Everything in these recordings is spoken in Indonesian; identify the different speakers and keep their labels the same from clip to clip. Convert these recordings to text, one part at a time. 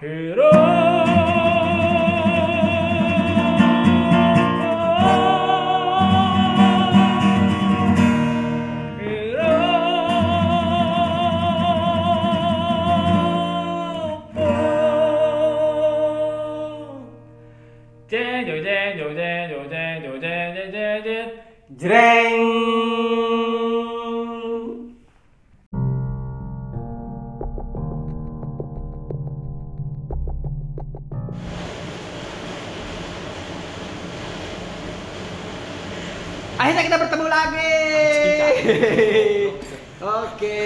Speaker 1: Hero Jeng jeng jeng jeng jeng jeng jeng jeng jeng jeng jeng jeng Jreng
Speaker 2: Akhirnya kita bertemu lagi. Oke,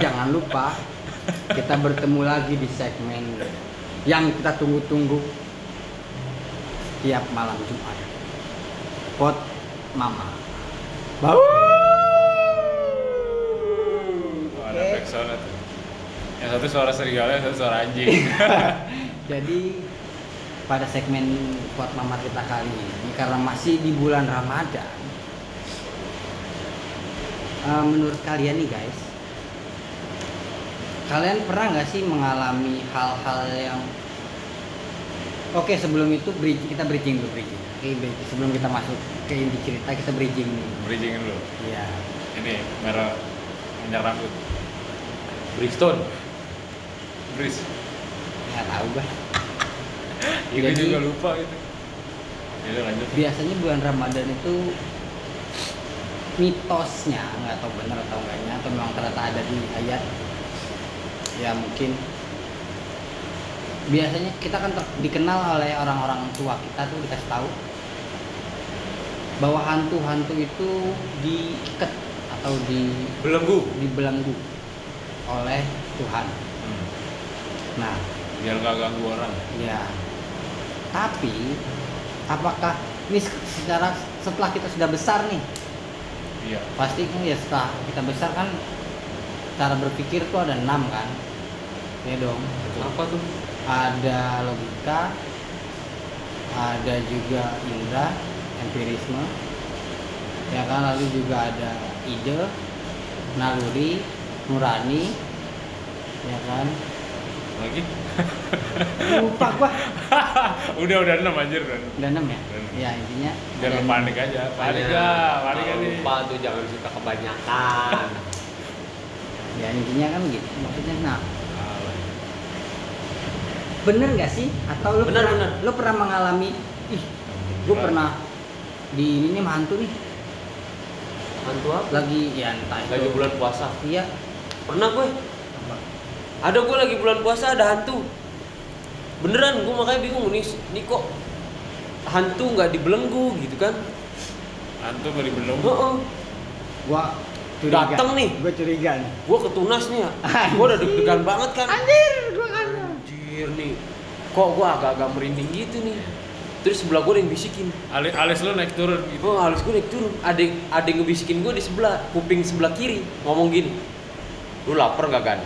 Speaker 2: jangan lupa kita bertemu lagi di segmen yang kita tunggu-tunggu setiap malam Jumat. Pot Mama. Bau.
Speaker 1: Ada
Speaker 2: Oke.
Speaker 1: back sound tuh. Yang satu suara serigala, yang satu suara anjing.
Speaker 2: Jadi pada segmen Pot Mama kita kali ini karena masih di bulan Ramadan. eh, menurut kalian nih guys, kalian pernah nggak sih mengalami hal-hal yang Oke sebelum itu bridge, kita bridging dulu bridging. Oke, bridging. sebelum kita masuk ke inti cerita kita bridging nih.
Speaker 1: Bridging dulu.
Speaker 2: Iya.
Speaker 1: Ini merah minyak rambut. Bridgestone. Bridge.
Speaker 2: Nggak tahu bah.
Speaker 1: Ya, gue
Speaker 2: Jadi-
Speaker 1: juga lupa gitu. Jadi lanjut.
Speaker 2: biasanya bulan Ramadan itu mitosnya nggak tahu benar atau enggaknya atau memang ternyata ada di ayat ya mungkin biasanya kita kan ter- dikenal oleh orang-orang tua kita tuh dikasih tahu bahwa hantu-hantu itu diikat atau di
Speaker 1: Belenggu.
Speaker 2: dibelenggu oleh Tuhan. Nah,
Speaker 1: Hmm. Biar gak ganggu orang.
Speaker 2: Ya. Tapi apakah ini se- secara setelah kita sudah besar nih,
Speaker 1: Iya.
Speaker 2: pasti kan ya setelah kita besar kan cara berpikir tuh ada enam kan? Ya dong.
Speaker 1: Apa tuh?
Speaker 2: Ada logika, ada juga indra, empirisme, ya kan lalu juga ada ide, naluri, nurani, ya kan?
Speaker 1: Lagi?
Speaker 2: Lupa gua.
Speaker 1: udah udah enam anjir udah. enam.
Speaker 2: Udah enam ya?
Speaker 1: Udah enam.
Speaker 2: Ya intinya. ada
Speaker 1: Jangan
Speaker 2: enam.
Speaker 1: panik aja. Panik
Speaker 3: Makanya,
Speaker 1: lah, panik
Speaker 3: kalau
Speaker 1: aja. nih.
Speaker 3: lupa tuh jangan suka kebanyakan
Speaker 2: ya intinya kan gitu maksudnya nah bener nggak sih atau lu
Speaker 3: Bener,
Speaker 2: pernah
Speaker 3: bener.
Speaker 2: lu pernah mengalami ih gue pernah di ini nih sama hantu nih
Speaker 3: hantu apa?
Speaker 2: lagi ya entah itu
Speaker 3: lagi bulan puasa
Speaker 2: iya
Speaker 3: pernah gue
Speaker 2: apa?
Speaker 3: ada gue lagi bulan puasa ada hantu beneran gue makanya bingung nih nih kok hantu nggak dibelenggu gitu kan
Speaker 1: Antum beli belenggu.
Speaker 3: Heeh.
Speaker 2: gua curiga
Speaker 3: Dateng nih.
Speaker 2: gua curiga nih
Speaker 3: gue ketunas nih ya gue udah deg-degan banget kan
Speaker 2: anjir gua kan
Speaker 3: anjir nih kok gue agak-agak merinding gitu nih terus sebelah gue ada yang bisikin
Speaker 1: Alis, alis lu naik turun gitu.
Speaker 3: Gue halus gue naik turun. Ada ada yang ngebisikin gue di sebelah kuping sebelah kiri ngomong gini. Lu lapar gak gan?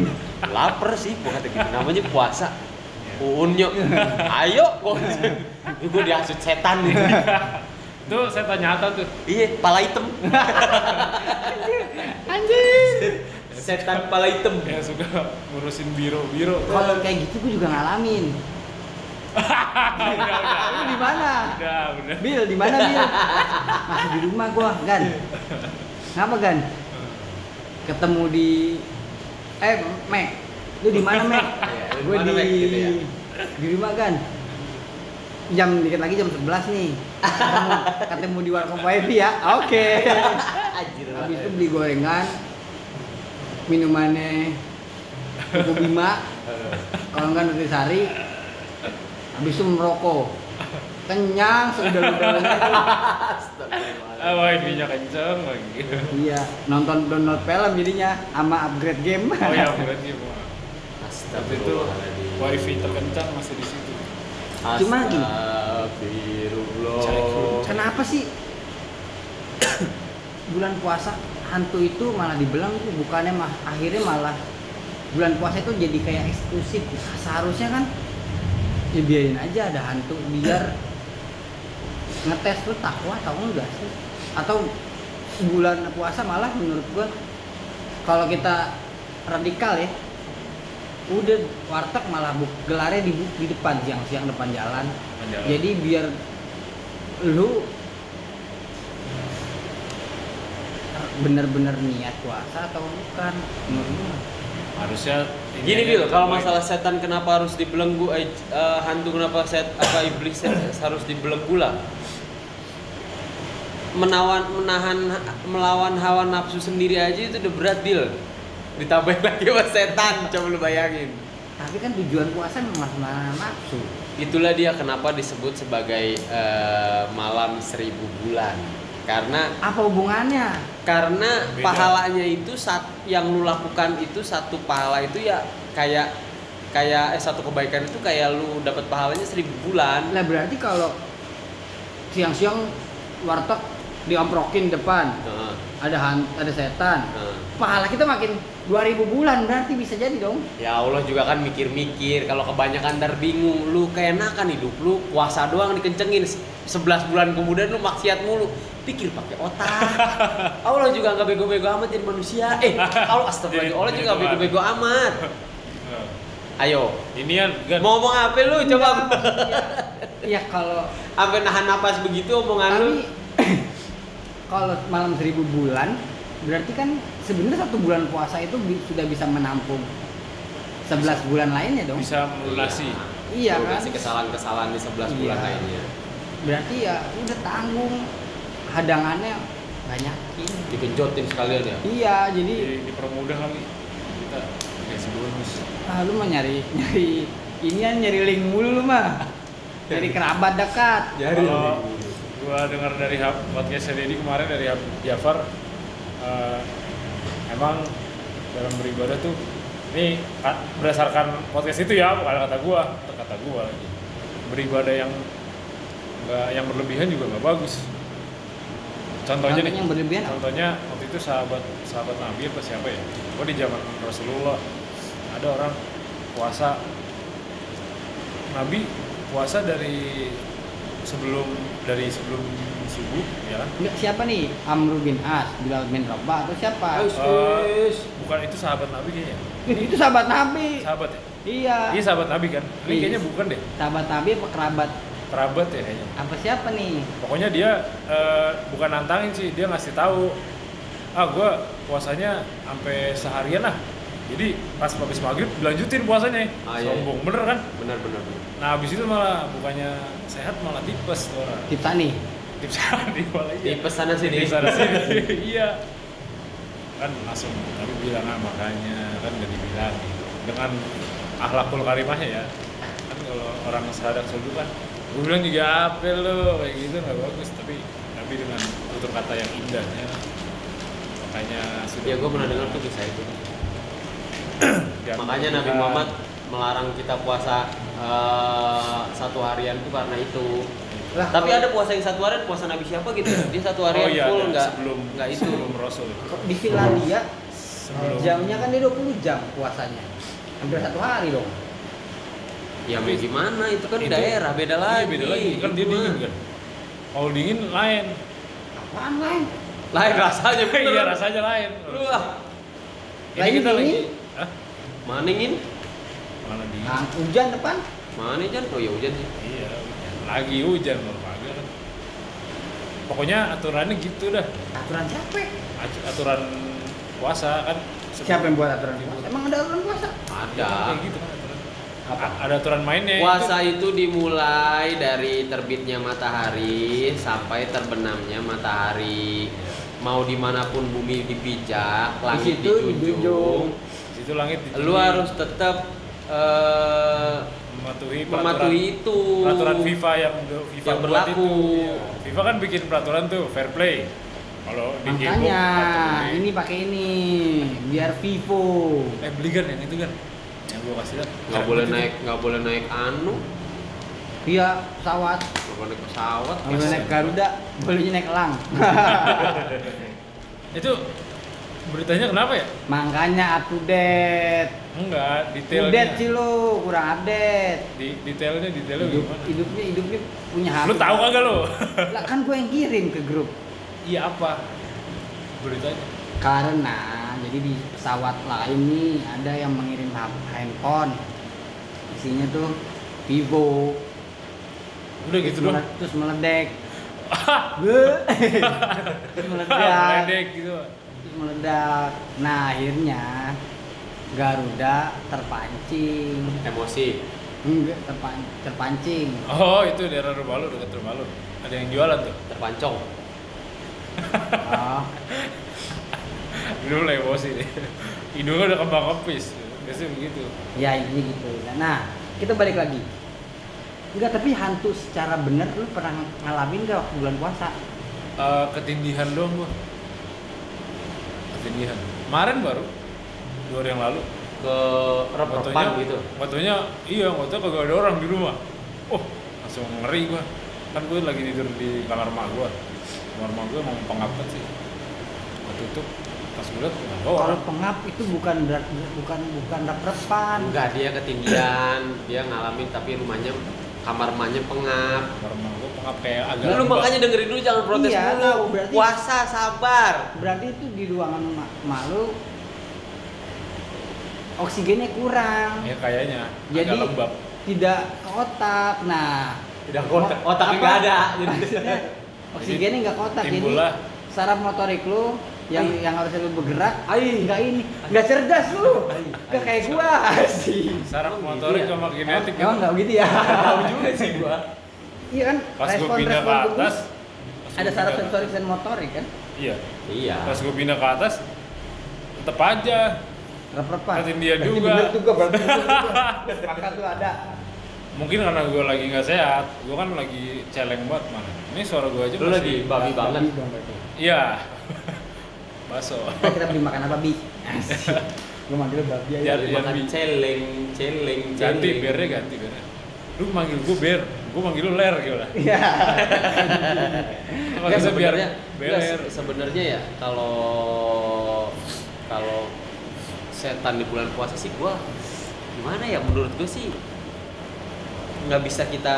Speaker 3: lapar sih, gue kata gitu. Namanya puasa. Uunnya, ayo gue gue dihasut setan nih.
Speaker 1: Tuh saya tanya Atta tuh.
Speaker 3: iya, pala hitam.
Speaker 2: anjir
Speaker 3: Setan pala hitam.
Speaker 1: Yang suka ngurusin biro biro.
Speaker 2: kalau kayak gitu gua juga ngalamin lu di mana
Speaker 1: Udah udah.
Speaker 3: ya.
Speaker 2: Bil di mana Bil masih di rumah gua Gan ngapa Gan ketemu di eh Mek lu di mana Mek
Speaker 3: Iya, lu di
Speaker 2: gue
Speaker 3: mana,
Speaker 2: di
Speaker 3: Mek? Gitu ya.
Speaker 2: di rumah Gan jam dikit lagi jam 11 nih ketemu, ketemu di warkop wifi ya oke
Speaker 3: Anjir.
Speaker 2: habis itu beli gorengan minumannya Buku Bima kalau enggak nutrisari habis itu merokok kenyang sudah-sudah
Speaker 1: Ah, wifi-nya kenceng lagi.
Speaker 2: Iya, nonton download film jadinya sama upgrade game.
Speaker 1: Oh ya berarti mau. Tapi itu
Speaker 3: Astagfirullahaladzim.
Speaker 1: wifi terkencang masih di situ.
Speaker 2: Cuma gini.
Speaker 1: Cek dulu.
Speaker 3: Astagfirullah.
Speaker 2: Kenapa sih bulan puasa hantu itu malah dibelenggu bukannya mah akhirnya malah bulan puasa itu jadi kayak eksklusif seharusnya kan ya biarin aja ada hantu biar ngetes lu takwa atau enggak sih atau bulan puasa malah menurut gua kalau kita radikal ya udah warteg malah bu, gelarnya di, bu- di depan siang-siang depan jalan.
Speaker 1: Menjawab.
Speaker 2: Jadi biar lu bener-bener niat puasa atau bukan menurut gua.
Speaker 1: harusnya ini
Speaker 3: Gini
Speaker 1: aja
Speaker 3: Bil,
Speaker 1: ditemuin.
Speaker 3: kalau masalah setan kenapa harus dibelenggu, eh, eh, hantu kenapa set apa iblis set- harus dibelenggu lah? Menawan, menahan, melawan hawa nafsu sendiri aja itu udah berat Bil. Ditambah lagi sama setan, coba lu bayangin.
Speaker 2: Tapi kan tujuan puasa memang menahan nafsu.
Speaker 3: Itulah dia kenapa disebut sebagai eh, malam seribu bulan. Karena
Speaker 2: Apa hubungannya?
Speaker 3: karena
Speaker 1: Beda.
Speaker 3: pahalanya itu saat yang lu lakukan itu satu pahala itu ya kayak kayak eh, satu kebaikan itu kayak lu dapat pahalanya seribu bulan
Speaker 2: Lah berarti kalau siang-siang warteg diamprokin depan
Speaker 3: Heeh,
Speaker 2: ada han- ada setan.
Speaker 3: heeh.
Speaker 2: Pahala kita makin 2000 bulan berarti bisa jadi dong.
Speaker 3: ya Allah juga kan mikir-mikir kalau kebanyakan ntar bingung lu keenakan hidup lu puasa doang dikencengin Se- 11 bulan kemudian lu maksiat mulu pikir pakai otak Allah juga nggak bego-bego amat jadi manusia eh Allah astagfirullah Allah juga nggak bego-bego amat
Speaker 1: Nah,
Speaker 3: Iya, ayo
Speaker 1: ini kan kan
Speaker 3: mau ngomong apa lu coba
Speaker 2: Ya kalau
Speaker 3: sampai nahan napas begitu omongan lu
Speaker 2: tapi kalau malam 1000 bulan berarti kan sebenarnya satu bulan puasa itu bi- sudah bisa menampung 11 bulan lainnya dong.
Speaker 1: bisa melunasi
Speaker 2: Iya
Speaker 3: Lu
Speaker 2: kan?
Speaker 3: kasih kesalahan-kesalahan di 11 bulan
Speaker 2: Iya.
Speaker 3: lainnya
Speaker 2: Berarti ya udah tanggung hadangannya banyakin.
Speaker 3: digenjotin sekalian ya
Speaker 2: Iya, jadi
Speaker 1: di, dipermudah kali kita kasih bonus
Speaker 2: Ah, lu mah nyari nyari inian nyari link mulu lu mah. Nyari
Speaker 1: Iya.
Speaker 2: kerabat dekat.
Speaker 3: Ya,
Speaker 1: Jari. gua dengar dari Hab- podcastnya Deddy kemarin dari Hab- Jafar eh, emang dalam beribadah tuh ini ka- berdasarkan podcast itu ya bukan kata gua kata gua lagi beribadah yang nggak yang berlebihan juga nggak bagus contohnya nih
Speaker 2: Yang berlebihan apa?
Speaker 1: contohnya waktu itu sahabat sahabat Nabi apa siapa ya gua di zaman Rasulullah ada orang puasa Nabi puasa dari sebelum dari sebelum subuh ya kan?
Speaker 2: Nggak, siapa nih? Amru bin As, Bilal bin Rabah atau siapa?
Speaker 3: Aus.
Speaker 1: Eh, bukan itu sahabat Nabi kayaknya
Speaker 2: Ih, Itu sahabat Nabi.
Speaker 1: sahabat ya
Speaker 2: Iya.
Speaker 1: iya sahabat Nabi kan ini
Speaker 2: Iya.
Speaker 1: kayaknya bukan deh
Speaker 2: Sahabat Nabi apa kerabat?
Speaker 1: kerabat ya kayaknya
Speaker 2: Apa siapa nih?
Speaker 1: pokoknya dia eh, bukan nantangin sih dia ngasih tahu ah gue puasanya sampai seharian lah jadi pas habis maghrib dilanjutin puasanya
Speaker 3: Ah, iya,
Speaker 1: sombong bener kan
Speaker 3: benar benar benar.
Speaker 1: nah habis itu malah bukannya sehat malah tipes tuh orang
Speaker 2: Kita nih.
Speaker 1: tips di malah iya.
Speaker 3: Tipes sana sini.
Speaker 1: Tipes sana sini iya kan langsung tapi bilang ah makanya kan gak dibilang dengan akhlakul karimahnya ya kan kalau orang sadar subuh kan gue bilang juga apa lo kayak gitu nggak bagus tapi tapi dengan tutur kata yang indahnya makanya sudah
Speaker 3: ya gue pernah dengar tuh kisah itu
Speaker 1: Kan Jangan
Speaker 3: makanya Nabi
Speaker 1: dibilang.
Speaker 3: Muhammad melarang kita puasa eh, satu harian tuh karena itu
Speaker 2: Lah,
Speaker 3: tapi
Speaker 2: kalau-
Speaker 3: ada puasa yang satu harian puasa Nabi siapa gitu ya? dia satu
Speaker 1: oh
Speaker 3: harian
Speaker 1: iya
Speaker 3: full
Speaker 1: ada.
Speaker 3: nggak
Speaker 1: sebelum
Speaker 3: nggak itu
Speaker 1: sebelum rasul
Speaker 2: kok di Finlandia
Speaker 1: sebelum
Speaker 2: jamnya kan dia 20 jam puasanya. Hampir satu hari dong.
Speaker 3: ya mau gimana itu kan
Speaker 1: Itu-
Speaker 3: daerah beda
Speaker 1: Iya,
Speaker 3: lagi
Speaker 1: beda lagi kan dia
Speaker 3: Itu mah.
Speaker 1: dingin kan kalau dingin lain
Speaker 2: Apaan lain?
Speaker 3: lain rasanya bener
Speaker 1: iya rasanya lain
Speaker 3: Lu ah,
Speaker 1: ini
Speaker 2: Lain
Speaker 1: kita lagi
Speaker 2: dingin.
Speaker 1: Hah?
Speaker 3: maningin
Speaker 1: malah dingin
Speaker 3: Ah,
Speaker 2: Nah, hujan depan.
Speaker 3: mana Jan? oh ya hujan sih
Speaker 1: Iya, hujan. lagi hujan baru kagak kan. Pokoknya aturannya gitu dah.
Speaker 2: Aturan siapa?
Speaker 1: Ac- Aturan puasa kan. sebelum-
Speaker 2: Siapa yang buat aturan puasa? Emang ada aturan puasa?
Speaker 1: Iya,
Speaker 3: ada
Speaker 1: kayak gitu kan aturan.
Speaker 2: Apa?
Speaker 1: A- Ada aturan mainnya.
Speaker 3: Puasa itu dimulai dari terbitnya matahari sampai terbenamnya matahari. Mau dimanapun bumi dipijak,
Speaker 2: Di
Speaker 3: langit
Speaker 2: situ dijunjung.
Speaker 3: dijunjung.
Speaker 1: Di situ langit dijunjung.
Speaker 3: Lu harus tetap eh,
Speaker 1: mematuhi peraturan-
Speaker 3: mematuhi itu.
Speaker 1: peraturan FIFA yang do- FIFA
Speaker 3: Yang
Speaker 1: buat
Speaker 3: berlaku.
Speaker 1: Itu. FIFA kan bikin peraturan tuh fair play. Kalau di Gembok,
Speaker 2: Makanya
Speaker 1: aturan
Speaker 2: ini pakai ini biar Vivo.
Speaker 1: eh beli kan yang itu kan. Yang gua kasih lihat.
Speaker 3: Nggak boleh naik, nggak boleh naik anu,
Speaker 2: Iya, pesawat.
Speaker 3: nggak boleh naik pesawat.
Speaker 2: Kalau naik Garuda, bolehnya naik elang.
Speaker 1: Itu beritanya kenapa ya?
Speaker 2: Makanya up to date.
Speaker 1: Enggak, detailnya.
Speaker 2: Update sih lu, kurang update.
Speaker 1: Di, detailnya detailnya
Speaker 2: Hidup,
Speaker 1: gimana?
Speaker 2: hidupnya hidupnya punya HP.
Speaker 1: Lu tahu kagak lu?
Speaker 2: Lah kan gue yang kirim ke grup.
Speaker 1: Iya apa? Beritanya.
Speaker 2: Karena Nah, jadi di pesawat lain nih ada yang mengirim hap- handphone. Isinya tuh Vivo.
Speaker 1: Udah
Speaker 2: terus
Speaker 1: gitu doang.
Speaker 2: mele- Terus meledek. Be- terus meledak.
Speaker 1: Meledek gitu.
Speaker 2: Terus meledak. Nah, akhirnya Garuda terpancing.
Speaker 3: emosi
Speaker 2: Enggak, terpan- terpancing.
Speaker 1: Oh, itu daerah rumah lu, dekat rumah lu. Ada yang jualan tuh.
Speaker 3: terpancong
Speaker 2: Oh.
Speaker 1: Dulu mulai emosi deh. Hidungnya udah kembang kempis. Biasanya begitu.
Speaker 2: Ya intinya gitu. Nah, kita balik lagi. Enggak, tapi hantu secara benar lu pernah ngalamin gak waktu bulan puasa?
Speaker 1: Eh, ketindihan doang gua. Ketindihan. Kemarin baru dua hari yang lalu.
Speaker 3: ke rep-repan
Speaker 1: Motonya
Speaker 3: gitu
Speaker 1: Motonya iya, motonya kagak ada orang di rumah. Oh, langsung ngeri gua. Kan gua lagi tidur di kamar rumah gua. Kamar rumah gua emang pengapet sih. Gua tutup. Pas gua liat kenapa
Speaker 2: Kalau
Speaker 1: orang.
Speaker 2: pengap itu bukan berat- bukan bukan rep-repan.
Speaker 3: enggak dia ketindihan dia ngalamin tapi rumahnya kamar rumahnya pengap
Speaker 1: Kamar rumah gua pengap kayak agak.
Speaker 3: lu
Speaker 1: lembab.
Speaker 3: makanya dengerin dulu jangan protes
Speaker 2: Iya,
Speaker 3: dulu
Speaker 2: tahu, berarti-
Speaker 3: puasa sabar
Speaker 2: Berarti itu di ruangan ma- malu oksigennya kurang.
Speaker 1: Ya kayaknya.
Speaker 2: Jadi
Speaker 1: agak lembab.
Speaker 2: tidak ke otak. Nah,
Speaker 3: udah
Speaker 2: otak-
Speaker 3: otak otaknya
Speaker 2: apa?
Speaker 3: nggak ada jadi
Speaker 2: maksudnya oksigennya nggak ke otak jadi
Speaker 1: Timbullah.
Speaker 2: saraf motorik lu yang
Speaker 3: Ay.
Speaker 2: yang harusnya lu bergerak
Speaker 3: Ay.
Speaker 2: nggak ini nggak cerdas lu nggak kayak gua sih
Speaker 1: Saraf
Speaker 3: Emang
Speaker 1: motorik
Speaker 3: gitu ya?
Speaker 1: sama kinetik.
Speaker 2: emang nggak begitu ya
Speaker 3: tahu juga sih gua
Speaker 2: iya kan
Speaker 1: Pas gua pindah ke
Speaker 2: respon tubuh
Speaker 1: atas. pas
Speaker 2: ada
Speaker 1: gua
Speaker 2: saraf
Speaker 1: pindah ke
Speaker 2: sensorik
Speaker 1: atas.
Speaker 2: dan motorik kan
Speaker 1: Iya.
Speaker 3: iya
Speaker 1: Pas gua pindah ke atas tetep aja
Speaker 2: rep-repan
Speaker 1: Berarti dia
Speaker 2: Berarti
Speaker 1: juga.
Speaker 2: bener tuh gua berarti bener tuh gua. sepakat tuh ada
Speaker 1: mungkin karena gue lagi nggak sehat gue kan lagi celeng banget man ini suara gue aja
Speaker 3: lu
Speaker 1: masih-
Speaker 3: lagi babi banget
Speaker 2: Babi dong berarti.
Speaker 1: iya baso
Speaker 2: Nah, kita beli makan apa bi Asik. lu manggil babi aja
Speaker 1: Biar-
Speaker 3: Lagi
Speaker 1: biar
Speaker 3: makan
Speaker 1: bi-
Speaker 3: celeng celeng
Speaker 1: ganti
Speaker 3: celeng.
Speaker 1: bernya ganti bernya lu manggil gue ber gue manggil lu ler gitu lah
Speaker 2: Iya.
Speaker 1: Kalau
Speaker 3: Nggak,
Speaker 1: bisa biar
Speaker 3: Ya, sebenarnya
Speaker 1: ber
Speaker 3: nggak, se- sebenarnya ya kalau kalau setan di bulan puasa sih gua gimana ya menurut gua sih nggak bisa kita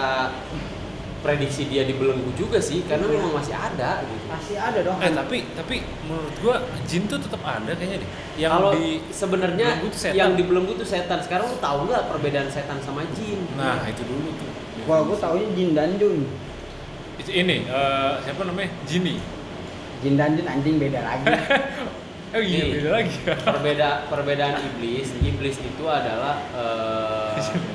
Speaker 3: prediksi dia dibelenggu juga sih karena
Speaker 2: Iya.
Speaker 3: memang masih ada gitu.
Speaker 2: masih ada dong
Speaker 1: eh tapi tapi menurut gue jin tuh tetap ada kayaknya deh yang
Speaker 3: Kalau
Speaker 1: di
Speaker 3: sebenarnya
Speaker 1: belenggu tuh setan.
Speaker 3: yang dibelenggu tuh setan. Sekarang lu tahu nggak perbedaan setan sama jin?
Speaker 1: nah itu dulu tuh
Speaker 2: kalau gua taunya jin danjun
Speaker 1: Itu ini eh, siapa namanya Jini
Speaker 2: jin danjun anjing beda lagi
Speaker 1: eh iya
Speaker 3: Nih.
Speaker 1: beda lagi
Speaker 3: Ah, Perbeda perbedaan iblis, iblis itu adalah eh,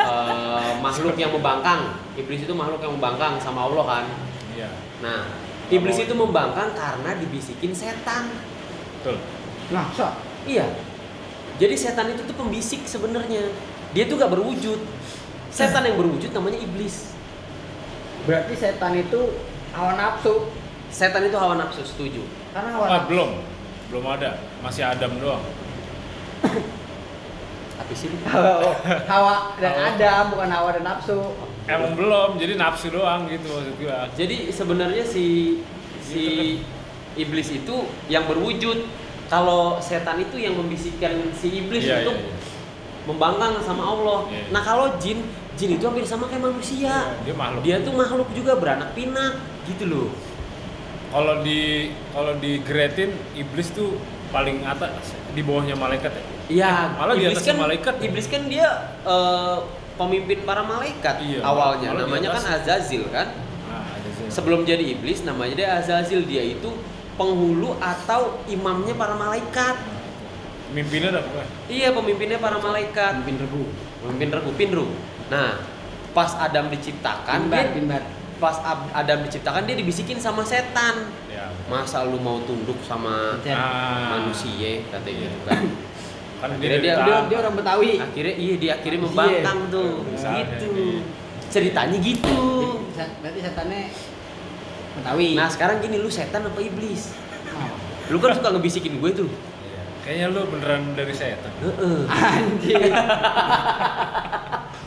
Speaker 3: eh, makhluk yang membangkang. Iblis itu makhluk yang membangkang sama Allah kan.
Speaker 1: iya
Speaker 3: Nah, iblis itu membangkang karena dibisikin setan.
Speaker 1: betul
Speaker 2: nah so
Speaker 3: Iya. Jadi setan itu tuh pembisik sebenarnya. Dia tuh gak berwujud. Setan yang berwujud namanya iblis.
Speaker 2: Berarti setan itu hawa nafsu.
Speaker 3: Setan itu hawa nafsu, setuju.
Speaker 2: Karena hawa
Speaker 1: ah,
Speaker 2: nafsu.
Speaker 1: belum belum ada masih Adam doang
Speaker 3: Tapi sih
Speaker 2: Hawa, hawa dan
Speaker 1: Hawa.
Speaker 2: ada, bukan hawa dan nafsu.
Speaker 1: Emang belum, jadi nafsu doang gitu maksud gua.
Speaker 3: Jadi sebenarnya si si iblis itu yang berwujud. Kalau setan itu yang membisikkan si iblis
Speaker 1: Iya,
Speaker 3: untuk
Speaker 1: iya, iya.
Speaker 3: membangkang sama Allah.
Speaker 1: Iya.
Speaker 3: Nah, kalau jin, jin itu hampir sama kayak manusia.
Speaker 1: Dia makhluk.
Speaker 3: Dia tuh makhluk juga beranak pinak gitu loh.
Speaker 1: Kalau di kalau di gretin iblis tuh paling atas di bawahnya malaikat ya.
Speaker 3: Iya,
Speaker 1: Malah di
Speaker 3: iblis
Speaker 1: atas
Speaker 3: kan
Speaker 1: malaikat. ya.
Speaker 3: iblis kan dia eh, pemimpin para malaikat
Speaker 1: Iya,
Speaker 3: awalnya.
Speaker 1: malah di
Speaker 3: Namanya kan
Speaker 1: atas.
Speaker 3: Azazil kan.
Speaker 1: Nah, ada sih.
Speaker 3: Sebelum jadi iblis namanya dia Azazil. Dia itu penghulu atau imamnya para malaikat.
Speaker 1: Mimpinnya ada apa?
Speaker 3: Iya, pemimpinnya para malaikat.
Speaker 2: Pimpin rebu.
Speaker 3: Pemimpin regu Pinru. Nah, pas Adam diciptakan,
Speaker 1: Kan,
Speaker 2: Pinbar,
Speaker 3: dia-
Speaker 2: pinbar.
Speaker 3: pas Ab- Adam diciptakan dia dibisikin sama setan.
Speaker 1: Ya.
Speaker 3: Masa lu mau tunduk sama
Speaker 2: Dan-
Speaker 1: Ah,
Speaker 3: manusia katanya gitu kan.
Speaker 1: Kan
Speaker 3: Akhirnya
Speaker 1: dia,
Speaker 3: dia-
Speaker 1: dia,
Speaker 2: Dia, dia orang Betawi.
Speaker 1: Ah.
Speaker 3: akhirnya iya dia akhirnya
Speaker 2: Iya.
Speaker 3: membangkang tuh
Speaker 1: Misalnya
Speaker 3: gitu
Speaker 1: nih.
Speaker 3: ceritanya gitu
Speaker 2: Jadi, se- Berarti setannya Betawi.
Speaker 3: nah sekarang gini lu setan apa iblis
Speaker 2: Oh.
Speaker 3: lu kan suka ngebisikin gue tuh
Speaker 1: Kayaknya lu beneran dari setan.
Speaker 3: Heeh.
Speaker 2: Anjing.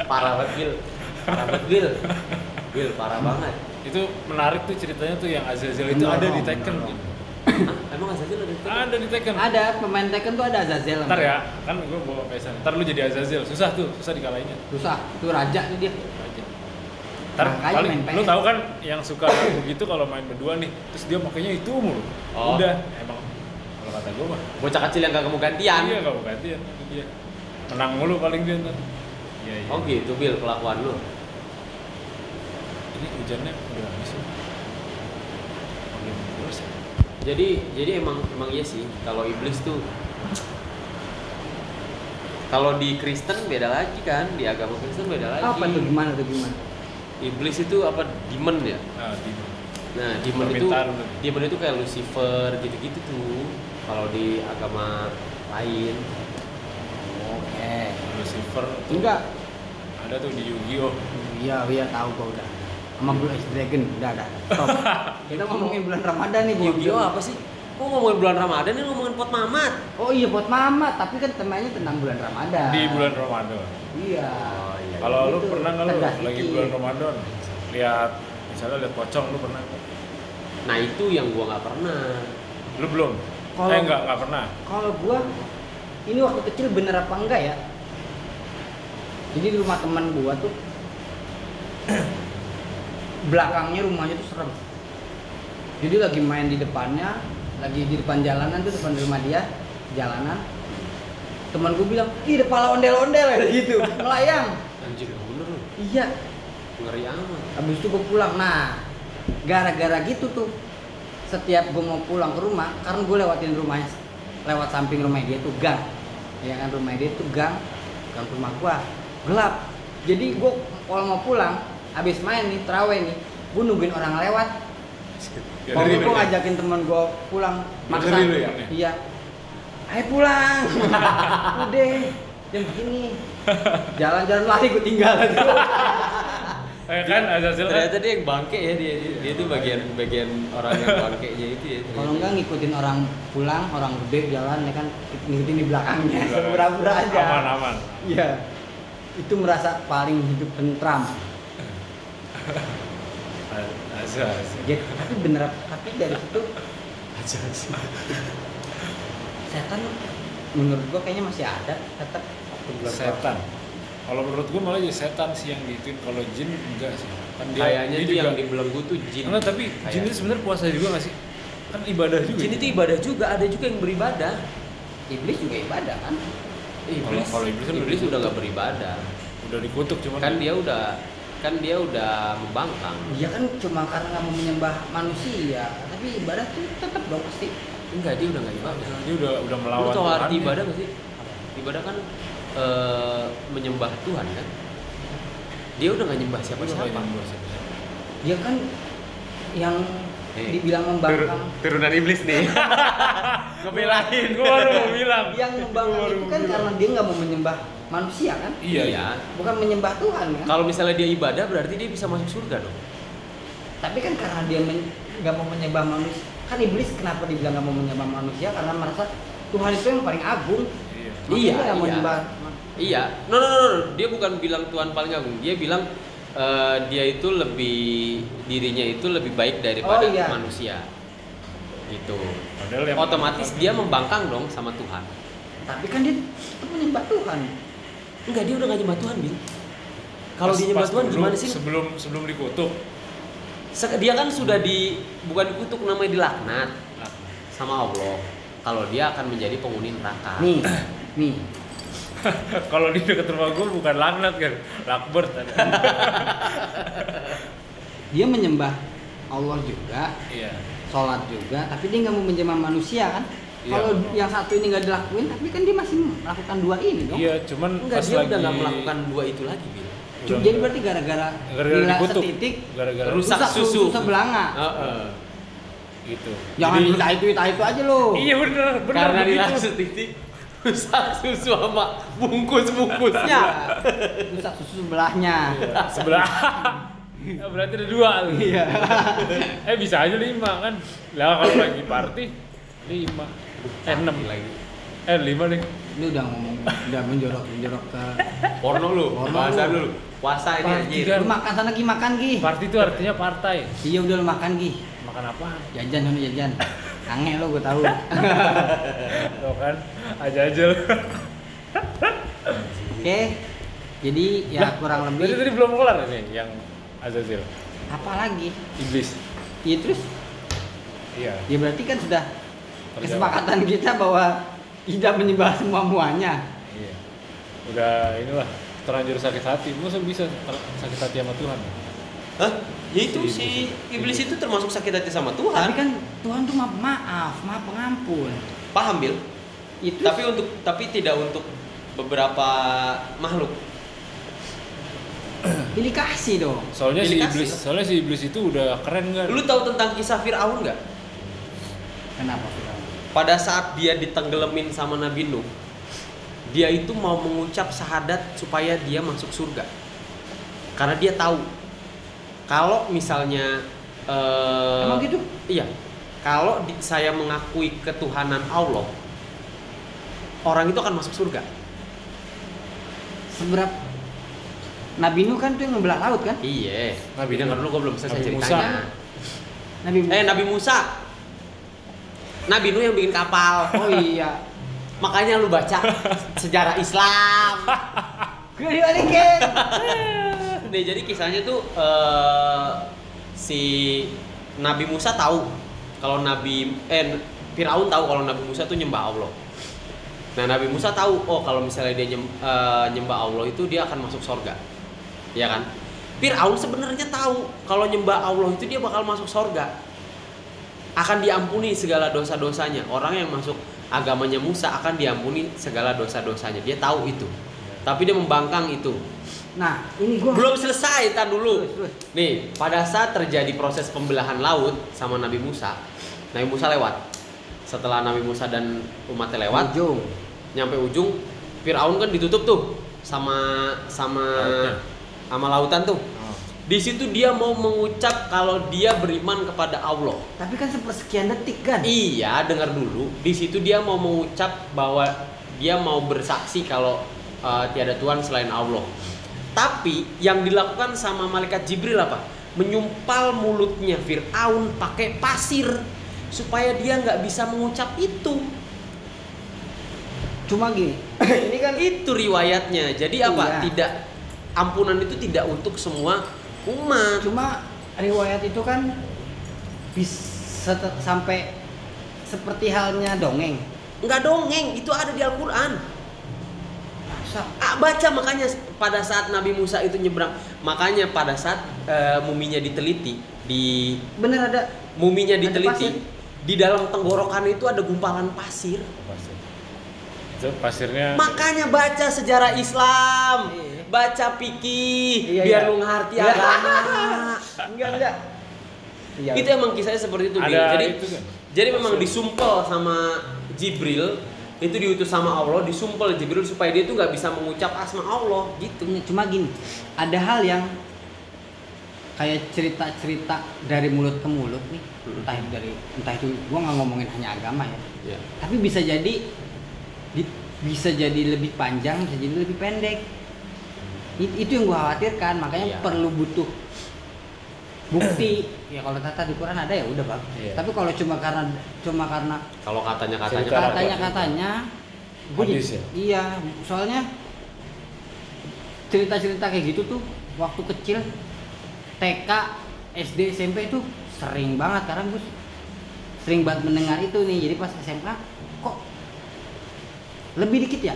Speaker 3: parah banget Gil parah banget Gil Gil parah banget
Speaker 1: Itu menarik tuh ceritanya tuh yang Azazel itu
Speaker 2: Bener
Speaker 1: ada
Speaker 2: dong,
Speaker 1: di
Speaker 2: bener
Speaker 1: Tekken.
Speaker 2: dong.
Speaker 1: Gitu.
Speaker 3: Hah? emang asalnya lu ada
Speaker 1: Ada di Tekken.
Speaker 2: ada pemain Tekken tuh ada Azazel.
Speaker 1: Ntar ya, kan gua bawa pesan. Ntar lu jadi Azazel, susah tuh, susah dikalahinnya.
Speaker 2: Susah, tuh raja tuh dia.
Speaker 1: aja. Ntar
Speaker 2: Makanya
Speaker 1: paling
Speaker 2: main PS.
Speaker 1: lu tahu kan yang suka begitu kalau main berdua nih, terus dia makanya itu mulu.
Speaker 3: Oh.
Speaker 1: Udah emang kalau kata gue mah
Speaker 3: Bocah kecil yang gak kamu gantian.
Speaker 1: iya gak mau gantian itu dia menang mulu paling dia ntar iya iya
Speaker 3: Oh gitu Bil kelakuan lu.
Speaker 1: ini hujannya udah habis ya Makin terus ya.
Speaker 3: Jadi jadi emang emang iya sih kalau iblis tuh kalau di Kristen beda lagi kan, di agama Kristen beda lagi.
Speaker 2: apa tuh gimana tuh gimana
Speaker 3: Iblis itu apa demon ya?
Speaker 1: nah di
Speaker 3: Nah, demon itu
Speaker 1: Permintaan lu.
Speaker 3: demon itu kayak Lucifer gitu-gitu tuh kalau di agama lain.
Speaker 2: oke
Speaker 1: Lucifer tuh
Speaker 2: enggak
Speaker 1: ada tuh di Yu-Gi-Oh
Speaker 2: iya iya tahu gua udah sama Blue Eyes Dragon udah udah stop kita ngomongin bulan Ramadan nih Bu
Speaker 3: Yu-Gi-Oh apa sih? Kok ngomongin bulan Ramadan ini ngomongin pot mamat?
Speaker 2: oh iya buat mama tapi kan temanya tentang bulan Ramadan
Speaker 1: di bulan Ramadan
Speaker 2: iya
Speaker 3: Oh, iya.
Speaker 1: Kalau lu
Speaker 2: Gitu,
Speaker 1: pernah nggak lu
Speaker 2: cerdas
Speaker 1: lagi
Speaker 2: dikit.
Speaker 1: bulan Ramadan lihat misalnya lihat pocong lu pernah nggak?
Speaker 3: Nah, itu yang gua nggak pernah.
Speaker 1: Lu belum?
Speaker 2: Kalau-
Speaker 1: eh enggak, enggak pernah.
Speaker 2: kalau gua ini waktu kecil bener apa enggak ya jadi di rumah teman gua tuh belakangnya rumahnya tuh serem jadi lagi main di depannya lagi di depan jalanan tuh depan rumah dia jalanan teman gua bilang ih kepala ondel ondel gitu melayang
Speaker 3: Anjir, yang bener lu.
Speaker 2: iya
Speaker 3: Ngeri amat.
Speaker 2: Habis itu gue pulang. Nah, gara-gara gitu tuh setiap gue mau pulang ke rumah, karena gue lewatin rumahnya, lewat samping rumah dia tuh gang, ya kan rumah dia tuh gang, gang rumah gua gelap. Jadi gue kalau mau pulang, habis main nih terawih nih, gue nungguin orang lewat.
Speaker 1: Ya,
Speaker 2: Mau
Speaker 1: dari-
Speaker 2: gue ngajakin temen gue pulang, maksa.
Speaker 1: Dari lu ya?
Speaker 2: Iya. Ayo pulang. Udah, jam begini. Jalan-jalan lari gue tinggal.
Speaker 1: Eh kan Azazil kan?
Speaker 3: Ternyata dia yang bangke ya dia dia, dia tuh bagian bagian orang yang bangkenya itu ya. ternyata.
Speaker 2: Kalau enggak ngikutin orang pulang, orang gede jalan ya kan ngikutin di belakangnya,
Speaker 1: Di belakang.
Speaker 2: pura-pura aja.
Speaker 1: Aman aman.
Speaker 2: Iya. Itu merasa paling hidup tentram.
Speaker 1: Az- Azazil.
Speaker 2: Jadi Ya, tapi bener tapi dari situ setan menurut gua kayaknya masih ada tetap waktu bulan
Speaker 1: Setan. Kalau menurut gua malah jadi setan sih yang gituin. Kalau jin enggak sih. Kan dia-
Speaker 3: Kayaknya
Speaker 1: dia
Speaker 3: tuh yang
Speaker 1: juga-
Speaker 3: dibelenggu tuh jin.
Speaker 1: Enggak, tapi jin
Speaker 3: Kayaknya.
Speaker 1: itu sebenarnya puasa juga nggak sih? Kan ibadah juga.
Speaker 3: Jin itu ibadah juga, ada juga yang beribadah.
Speaker 2: puasa. iblis juga ibadah kan.
Speaker 3: Iblis,
Speaker 1: kalau iblis kan
Speaker 3: iblis
Speaker 1: udah
Speaker 3: udah nggak beribadah.
Speaker 1: udah dikutuk cuman
Speaker 3: Kan dia udah kan dia udah membangkang.
Speaker 2: Dia kan cuma karena nggak mau menyembah manusia, tapi ibadah tuh tetap dong pasti.
Speaker 3: Enggak, dia udah nggak ibadah.
Speaker 1: dia udah udah
Speaker 3: Lu
Speaker 1: melawan
Speaker 3: tau arti
Speaker 1: Tuhannya.
Speaker 3: ibadah nggak sih? Ibadah kan eh, menyembah Tuhan kan. Dia udah nggak nyembah
Speaker 1: Dia udah
Speaker 3: siapa-siapa.
Speaker 1: kayak nyembah siapa-siapa.
Speaker 2: Dia kan yang
Speaker 1: Iya.
Speaker 3: Eh,
Speaker 2: dibilang membangkang
Speaker 3: turunan iblis nih. Ngebelain
Speaker 1: Gua baru mau bilang.
Speaker 2: yang
Speaker 1: Gua
Speaker 2: membangkang
Speaker 1: baru
Speaker 2: itu
Speaker 1: mau
Speaker 2: kan
Speaker 1: bilang.
Speaker 2: karena dia nggak mau menyembah manusia kan
Speaker 1: Iya, iya.
Speaker 2: bukan menyembah Tuhan kan
Speaker 3: Kalau misalnya dia ibadah berarti dia bisa masuk surga dong.
Speaker 2: tapi kan karena dia men- nggak mau menyembah manusia kan iblis kenapa dibilang nggak mau menyembah manusia karena merasa Tuhan itu yang paling agung
Speaker 1: Iya.
Speaker 2: Makanya
Speaker 3: Iya,
Speaker 2: nggak mau
Speaker 3: iya.
Speaker 2: menyembah
Speaker 3: Iya. No, no, no, no. Dia bukan bilang Tuhan paling agung. Dia bilang eh, dia itu lebih dirinya itu lebih baik
Speaker 2: Oh,
Speaker 3: daripada
Speaker 2: iya.
Speaker 3: manusia. Gitu.
Speaker 1: Padahal yang
Speaker 3: Otomatis dia membangkang dong sama Tuhan.
Speaker 2: tapi kan dia tetap menyembah Tuhan
Speaker 3: Enggak, dia udah gak nyembah Tuhan, Bil. Kalau
Speaker 1: Pas-
Speaker 3: dia nyembah
Speaker 1: pas
Speaker 3: Tuhan
Speaker 1: dulu,
Speaker 3: gimana sih?
Speaker 1: Sebelum sebelum dikutuk.
Speaker 3: Sek- Dia kan sudah di bukan dikutuk namanya dilaknat
Speaker 1: Nah,
Speaker 3: sama Allah. Kalau dia akan menjadi penghuni neraka.
Speaker 2: nih nih
Speaker 1: Kalau di dekat rumah gue bukan laknat kan, lakbert.
Speaker 2: dia menyembah Allah juga
Speaker 1: Iya.
Speaker 2: sholat juga tapi dia nggak mau menyembah manusia kan
Speaker 1: Iya.
Speaker 2: kalau yang satu ini nggak dilakuin tapi kan dia masih melakukan dua ini dong
Speaker 1: Iya, cuman
Speaker 3: Enggak,
Speaker 1: pas
Speaker 3: dia
Speaker 1: lagi
Speaker 3: udah gak melakukan dua itu lagi, Bil.
Speaker 2: Cuk- jadi berarti gara-gara
Speaker 1: gara-gara
Speaker 2: nila
Speaker 1: dikutuk.
Speaker 2: setitik
Speaker 1: Gara-gara
Speaker 3: Rusak susu.
Speaker 2: sebelanga
Speaker 3: Heeh.
Speaker 1: gitu.
Speaker 2: jangan
Speaker 1: Jadi-
Speaker 2: minta itu itu itu aja lo
Speaker 1: Iya benar, benar
Speaker 3: Karena
Speaker 1: begitu.
Speaker 3: dilaksud titik rusak susu sama bungkus-bungkusnya.
Speaker 2: ya rusak susu sebelahnya
Speaker 1: Iya, Sebelah. Ya, berarti ada dua tuh.
Speaker 2: iya
Speaker 1: Eh bisa aja lima kan. Lah kalau lagi party lima. Eh enam lagi. Eh lima deh.
Speaker 2: ini udah ngomong udah menjorok menjorok ke
Speaker 3: Porno lu,
Speaker 2: Porno
Speaker 3: bahasa
Speaker 2: lu.
Speaker 3: lu. Puasa ini
Speaker 1: Party
Speaker 3: anjir.
Speaker 1: kan.
Speaker 2: lu makan sana gi makan gi
Speaker 1: Party itu artinya partai.
Speaker 2: iya udah lu makan gi
Speaker 1: Makan apaan?
Speaker 2: jajan sana jajan kange lo gue tahu
Speaker 1: Tuh kan, aja-aja.
Speaker 2: oke jadi ya
Speaker 1: Lah,
Speaker 2: kurang
Speaker 1: Berarti
Speaker 2: lebih
Speaker 1: tadi belum kelar nih yang Azazil.
Speaker 2: apa lagi
Speaker 1: Iblis.
Speaker 2: ya terus
Speaker 1: Iya.
Speaker 2: ya berarti kan sudah
Speaker 1: Terjawab.
Speaker 2: kesepakatan kita bahwa tidak menyembah semua muanya
Speaker 1: Iya. Udah inilah terlanjur sakit hati. Masa bisa ter- sakit hati sama Tuhan?
Speaker 3: Hah? Ya itu
Speaker 1: Iya,
Speaker 3: si iblis itu termasuk sakit hati sama
Speaker 2: tapi
Speaker 3: Tuhan.
Speaker 2: kan Tuhan tuh maaf maaf maaf pengampun
Speaker 3: Paham Bil?
Speaker 2: itu
Speaker 3: Tapi untuk tapi tidak untuk beberapa makhluk.
Speaker 2: pilih kasih dong
Speaker 1: Soalnya si
Speaker 3: Pilih kasih
Speaker 1: iblis,
Speaker 3: lah.
Speaker 1: soalnya si iblis itu udah keren kan?
Speaker 3: Lu tahu tentang kisah Firaun nggak?
Speaker 2: kenapa Firaun?
Speaker 3: Pada saat dia ditenggelamin sama Nabi Nuh, dia itu mau mengucap syahadat supaya dia masuk surga. Karena dia tahu kalau misalnya eh,
Speaker 2: emang gitu
Speaker 3: Iya. Kalau di- saya mengakui ketuhanan Allah, orang itu akan masuk surga.
Speaker 2: seberapa Nabi Nuh kan tuh yang membelah laut kan
Speaker 3: Iya.
Speaker 1: Nabi
Speaker 3: Nabi dengar
Speaker 1: Nuh.
Speaker 3: dulu gue belum selesai
Speaker 1: Nabi
Speaker 3: ceritanya.
Speaker 2: Nabi
Speaker 3: Eh Nabi Musa. Nabi Nuh yang bikin kapal.
Speaker 2: oh iya
Speaker 3: Makanya lu baca sejarah Islam.
Speaker 2: gue dibalikin
Speaker 3: Nih jadi kisahnya tuh eh, si Nabi Musa tahu kalau Nabi eh Firaun tahu kalau Nabi Musa tuh nyembah Allah. Nah Nabi Musa tahu oh kalau misalnya dia nyem- eh, nyembah Allah itu dia akan masuk surga, ya kan? Firaun sebenarnya tahu kalau nyembah Allah itu dia bakal masuk surga, akan diampuni segala dosa-dosanya. Orang yang masuk agamanya Musa akan diampuni segala dosa-dosanya. Dia tahu itu, tapi dia membangkang itu.
Speaker 2: nah ini gue
Speaker 3: Belum selesai, tar dulu.
Speaker 2: Terus, terus.
Speaker 3: Nih, pada saat terjadi proses pembelahan laut sama Nabi Musa, Nabi Musa lewat. Setelah Nabi Musa dan umatnya lewat,
Speaker 2: Ujung.
Speaker 3: nyampe ujung, Firaun kan ditutup tuh sama sama
Speaker 1: Lautnya.
Speaker 3: sama lautan tuh. Di situ dia mau mengucap kalau dia beriman kepada Allah.
Speaker 2: tapi kan sepersekian detik kan
Speaker 3: Iya, dengar dulu. Di situ dia mau mengucap bahwa dia mau bersaksi kalau uh, tiada Tuhan selain Allah. Tapi yang dilakukan sama malaikat Jibril apa? Menyumpal mulutnya Fir'aun pakai pasir supaya dia nggak bisa mengucap itu.
Speaker 2: cuma gini
Speaker 3: Ini kan itu riwayatnya. Jadi apa?
Speaker 2: Iya.
Speaker 3: Tidak ampunan itu tidak untuk semua umat.
Speaker 2: cuma riwayat itu kan bisa te- sampai seperti halnya dongeng
Speaker 3: Nggak dongeng, itu ada di Al-Qur'an.
Speaker 2: masa
Speaker 3: Ah, baca makanya pada saat Nabi Musa itu nyebrang makanya pada saat eh, muminya diteliti di
Speaker 2: bener ada
Speaker 3: muminya
Speaker 2: Ada
Speaker 3: diteliti
Speaker 2: pasir.
Speaker 3: di dalam tenggorokan itu ada gumpalan pasir
Speaker 1: Pasir. Itu pasirnya.
Speaker 3: makanya baca sejarah Islam
Speaker 2: Iya.
Speaker 3: baca pikih
Speaker 2: Iya,
Speaker 3: biar
Speaker 2: iya.
Speaker 3: lu ngerti
Speaker 2: Iya.
Speaker 3: agama
Speaker 2: enggak enggak iya
Speaker 3: itu emang kisahnya seperti itu Bil.
Speaker 1: Ada
Speaker 3: jadi
Speaker 1: itu kan?
Speaker 3: jadi memang
Speaker 1: Pasir.
Speaker 3: disumpel sama Jibril itu diutus sama Allah disumpel Jibril supaya dia tuh nggak bisa mengucap asma Allah gitu
Speaker 2: Cuma- cuma gini ada hal yang kayak cerita-cerita dari mulut ke mulut nih
Speaker 3: Mm.
Speaker 2: entah itu dari entah itu gua nggak ngomongin hanya agama ya
Speaker 3: ya
Speaker 2: tapi bisa jadi di- bisa jadi lebih panjang bisa jadi lebih pendek I- itu yang gua khawatirkan makanya
Speaker 3: Iya.
Speaker 2: perlu butuh bukti ya kalau tata di Quran ada ya udah bagus
Speaker 1: Iya.
Speaker 2: tapi kalau cuma karena cuma karena
Speaker 3: kalau katanya katanya
Speaker 1: Cerita
Speaker 3: kan-
Speaker 2: katanya katanya gua
Speaker 1: Hadis
Speaker 2: jadi-
Speaker 1: ya?
Speaker 2: iya soalnya cerita cerita kayak gitu tuh waktu kecil TK SD SMP itu sering banget karena gue sering banget mendengar itu nih jadi pas SMA kok lebih dikit ya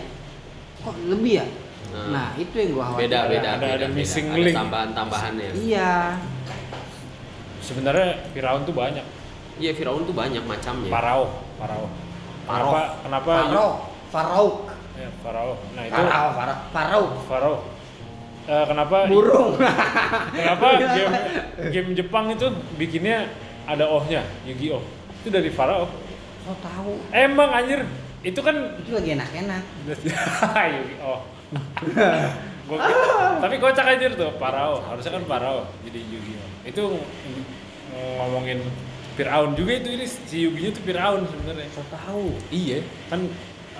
Speaker 2: kok lebih ya
Speaker 3: Nah.
Speaker 2: nah itu yang gua
Speaker 3: beda
Speaker 2: khawatir
Speaker 3: beda
Speaker 1: Ada-
Speaker 3: beda,
Speaker 1: ada
Speaker 3: beda.
Speaker 1: missing
Speaker 3: Ada
Speaker 1: link.
Speaker 3: tambahan tambahannya
Speaker 2: iya
Speaker 1: Sebenarnya Firaun tuh banyak.
Speaker 3: iya Firaun tuh banyak macamnya
Speaker 1: Parao, Parao.
Speaker 3: Parao.
Speaker 1: Kenapa? Kenapa?
Speaker 2: Farao Farao
Speaker 1: Ya, Parao. Nah itu.
Speaker 2: Farao Farao Farao
Speaker 1: Farao. Eh, kenapa?
Speaker 2: burung Iya.
Speaker 1: Kenapa game, game Jepang itu bikinnya ada ohnya, Yu-Gi-Oh. Itu dari Farao.
Speaker 2: so tahu
Speaker 1: Emang anjir, itu kan
Speaker 2: itu lagi enak-enak
Speaker 1: Yu-Gi-Oh. oh. Gua- tapi kocak anjir tuh Parao, harusnya kan Parao jadi Yu-Gi-Oh. Itu ng- ngomongin Firaun juga itu ini si Yugi-nya tuh Firaun sebenarnya.
Speaker 2: so tahu
Speaker 1: Iya, kan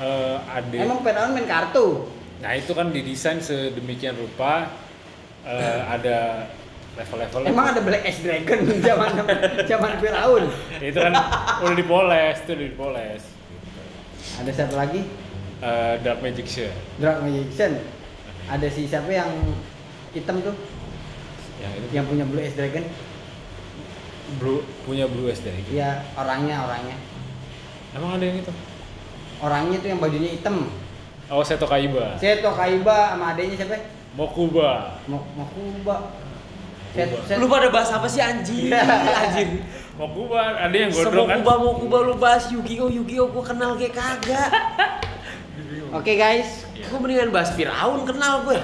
Speaker 1: eh ada
Speaker 2: Emang Firaun main kartu?
Speaker 1: Nah itu kan didesain sedemikian rupa eh, ada level-level.
Speaker 2: Emang ada Black Ash Dragon zaman zaman Firaun?
Speaker 1: Itu kan udah dipoles, itu udah dipoles.
Speaker 2: Ada satu lagi
Speaker 1: Eh, Dark Magic Show
Speaker 2: Drug Magician. Ada si siapa yang hitam tuh
Speaker 1: yang Ya, itu
Speaker 2: yang punya Blue Ash Dragon?
Speaker 1: Blue- punya Blue SD.
Speaker 2: Ya Iya, orangnya orangnya.
Speaker 1: Emang ada yang itu?
Speaker 2: Orangnya tuh yang bajunya hitam.
Speaker 1: Oh, Seto Kaiba.
Speaker 2: Seto Kaiba sama adanya siapa? ya?
Speaker 1: Mokuba.
Speaker 2: Mo- Mokuba. Set,
Speaker 1: Kuba.
Speaker 2: set.
Speaker 3: Lu pada bahas apa sih anjing? anjing.
Speaker 1: Mokuba, ada Iya. yang
Speaker 3: Semua
Speaker 1: gondrong kan?
Speaker 3: kuba mau kuba lu bahas Yu-Gi-Oh, Yu-Gi-Oh gua kenal kayak kagak.
Speaker 2: Oke guys,
Speaker 3: Gua mendingan bahas Firaun kenal gue.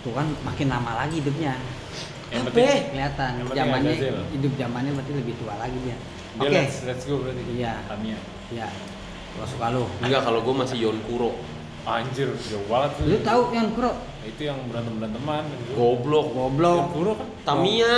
Speaker 2: tuh kan makin lama lagi hidupnya.
Speaker 1: Yang
Speaker 3: Apa?
Speaker 1: penting,
Speaker 2: Kelihatan
Speaker 1: Yang penting
Speaker 2: zamannya
Speaker 1: ada hasil.
Speaker 2: hidup zamannya berarti lebih tua lagi dia.
Speaker 1: dia
Speaker 2: Oke,
Speaker 1: let's, let's go berarti.
Speaker 2: Iya.
Speaker 1: Tamiya.
Speaker 2: ya. Lo suka lo.
Speaker 3: Enggak kalau gua masih Yon Kuro.
Speaker 1: Anjir, jauh banget tuh.
Speaker 2: Lu tahu yang Kuro?
Speaker 1: Itu yang berantem-beranteman.
Speaker 3: Goblok.
Speaker 1: Yang
Speaker 2: Goblok.
Speaker 1: Kuro kan?
Speaker 3: Tamiya,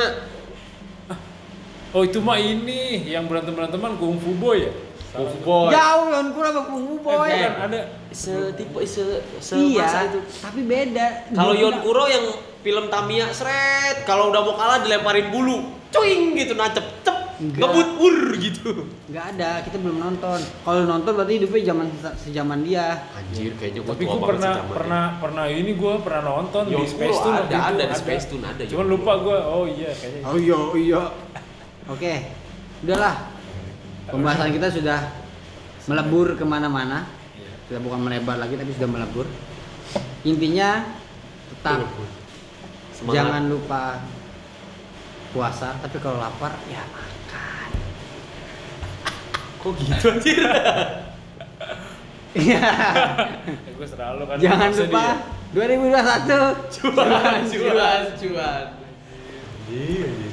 Speaker 1: Oh, itu mah ini yang berantem-beranteman Kung Fu Boy ya?
Speaker 3: Kung Fu Boy.
Speaker 2: Jauh yang Kuro sama Kung Fu Boy.
Speaker 1: Eh, bukan, ada.
Speaker 3: setipe se semasa
Speaker 2: Iya,
Speaker 3: itu.
Speaker 2: tapi beda.
Speaker 3: Kalau
Speaker 2: Dia
Speaker 3: Yon
Speaker 2: punya-
Speaker 3: Kuro yang film Tamiya seret, kalau udah mau kalah dilemparin bulu, cuing gitu nancep, cep,
Speaker 2: Enggak.
Speaker 3: ngebut ur gitu.
Speaker 2: nggak ada, kita belum nonton. Kalau nonton berarti hidupnya zaman se- sejaman dia.
Speaker 3: Anjir, kayaknya
Speaker 1: Tapi gue pernah pernah pernah ini gue pernah nonton
Speaker 3: Yang
Speaker 1: di Space
Speaker 3: gua
Speaker 1: Tune
Speaker 3: ada,
Speaker 1: waktu itu,
Speaker 3: ada di Space Tune, ada
Speaker 1: Cuman
Speaker 3: yang
Speaker 1: lupa gue. Oh iya kayaknya.
Speaker 2: Oh iya, iya. Oke, udahlah. Pembahasan kita sudah melebur kemana-mana.
Speaker 1: Iya.
Speaker 2: Kita bukan melebar lagi, tapi sudah melebur. Intinya tetap jangan lupa puasa, tapi kalau lapar ya makan.
Speaker 3: kok gitu anjir.
Speaker 1: gue selalu kan.
Speaker 2: Iya, jangan
Speaker 1: maksudnya
Speaker 3: ya.
Speaker 2: lupa 2021.
Speaker 3: Cuan, cuan, cuan. Iya, iya.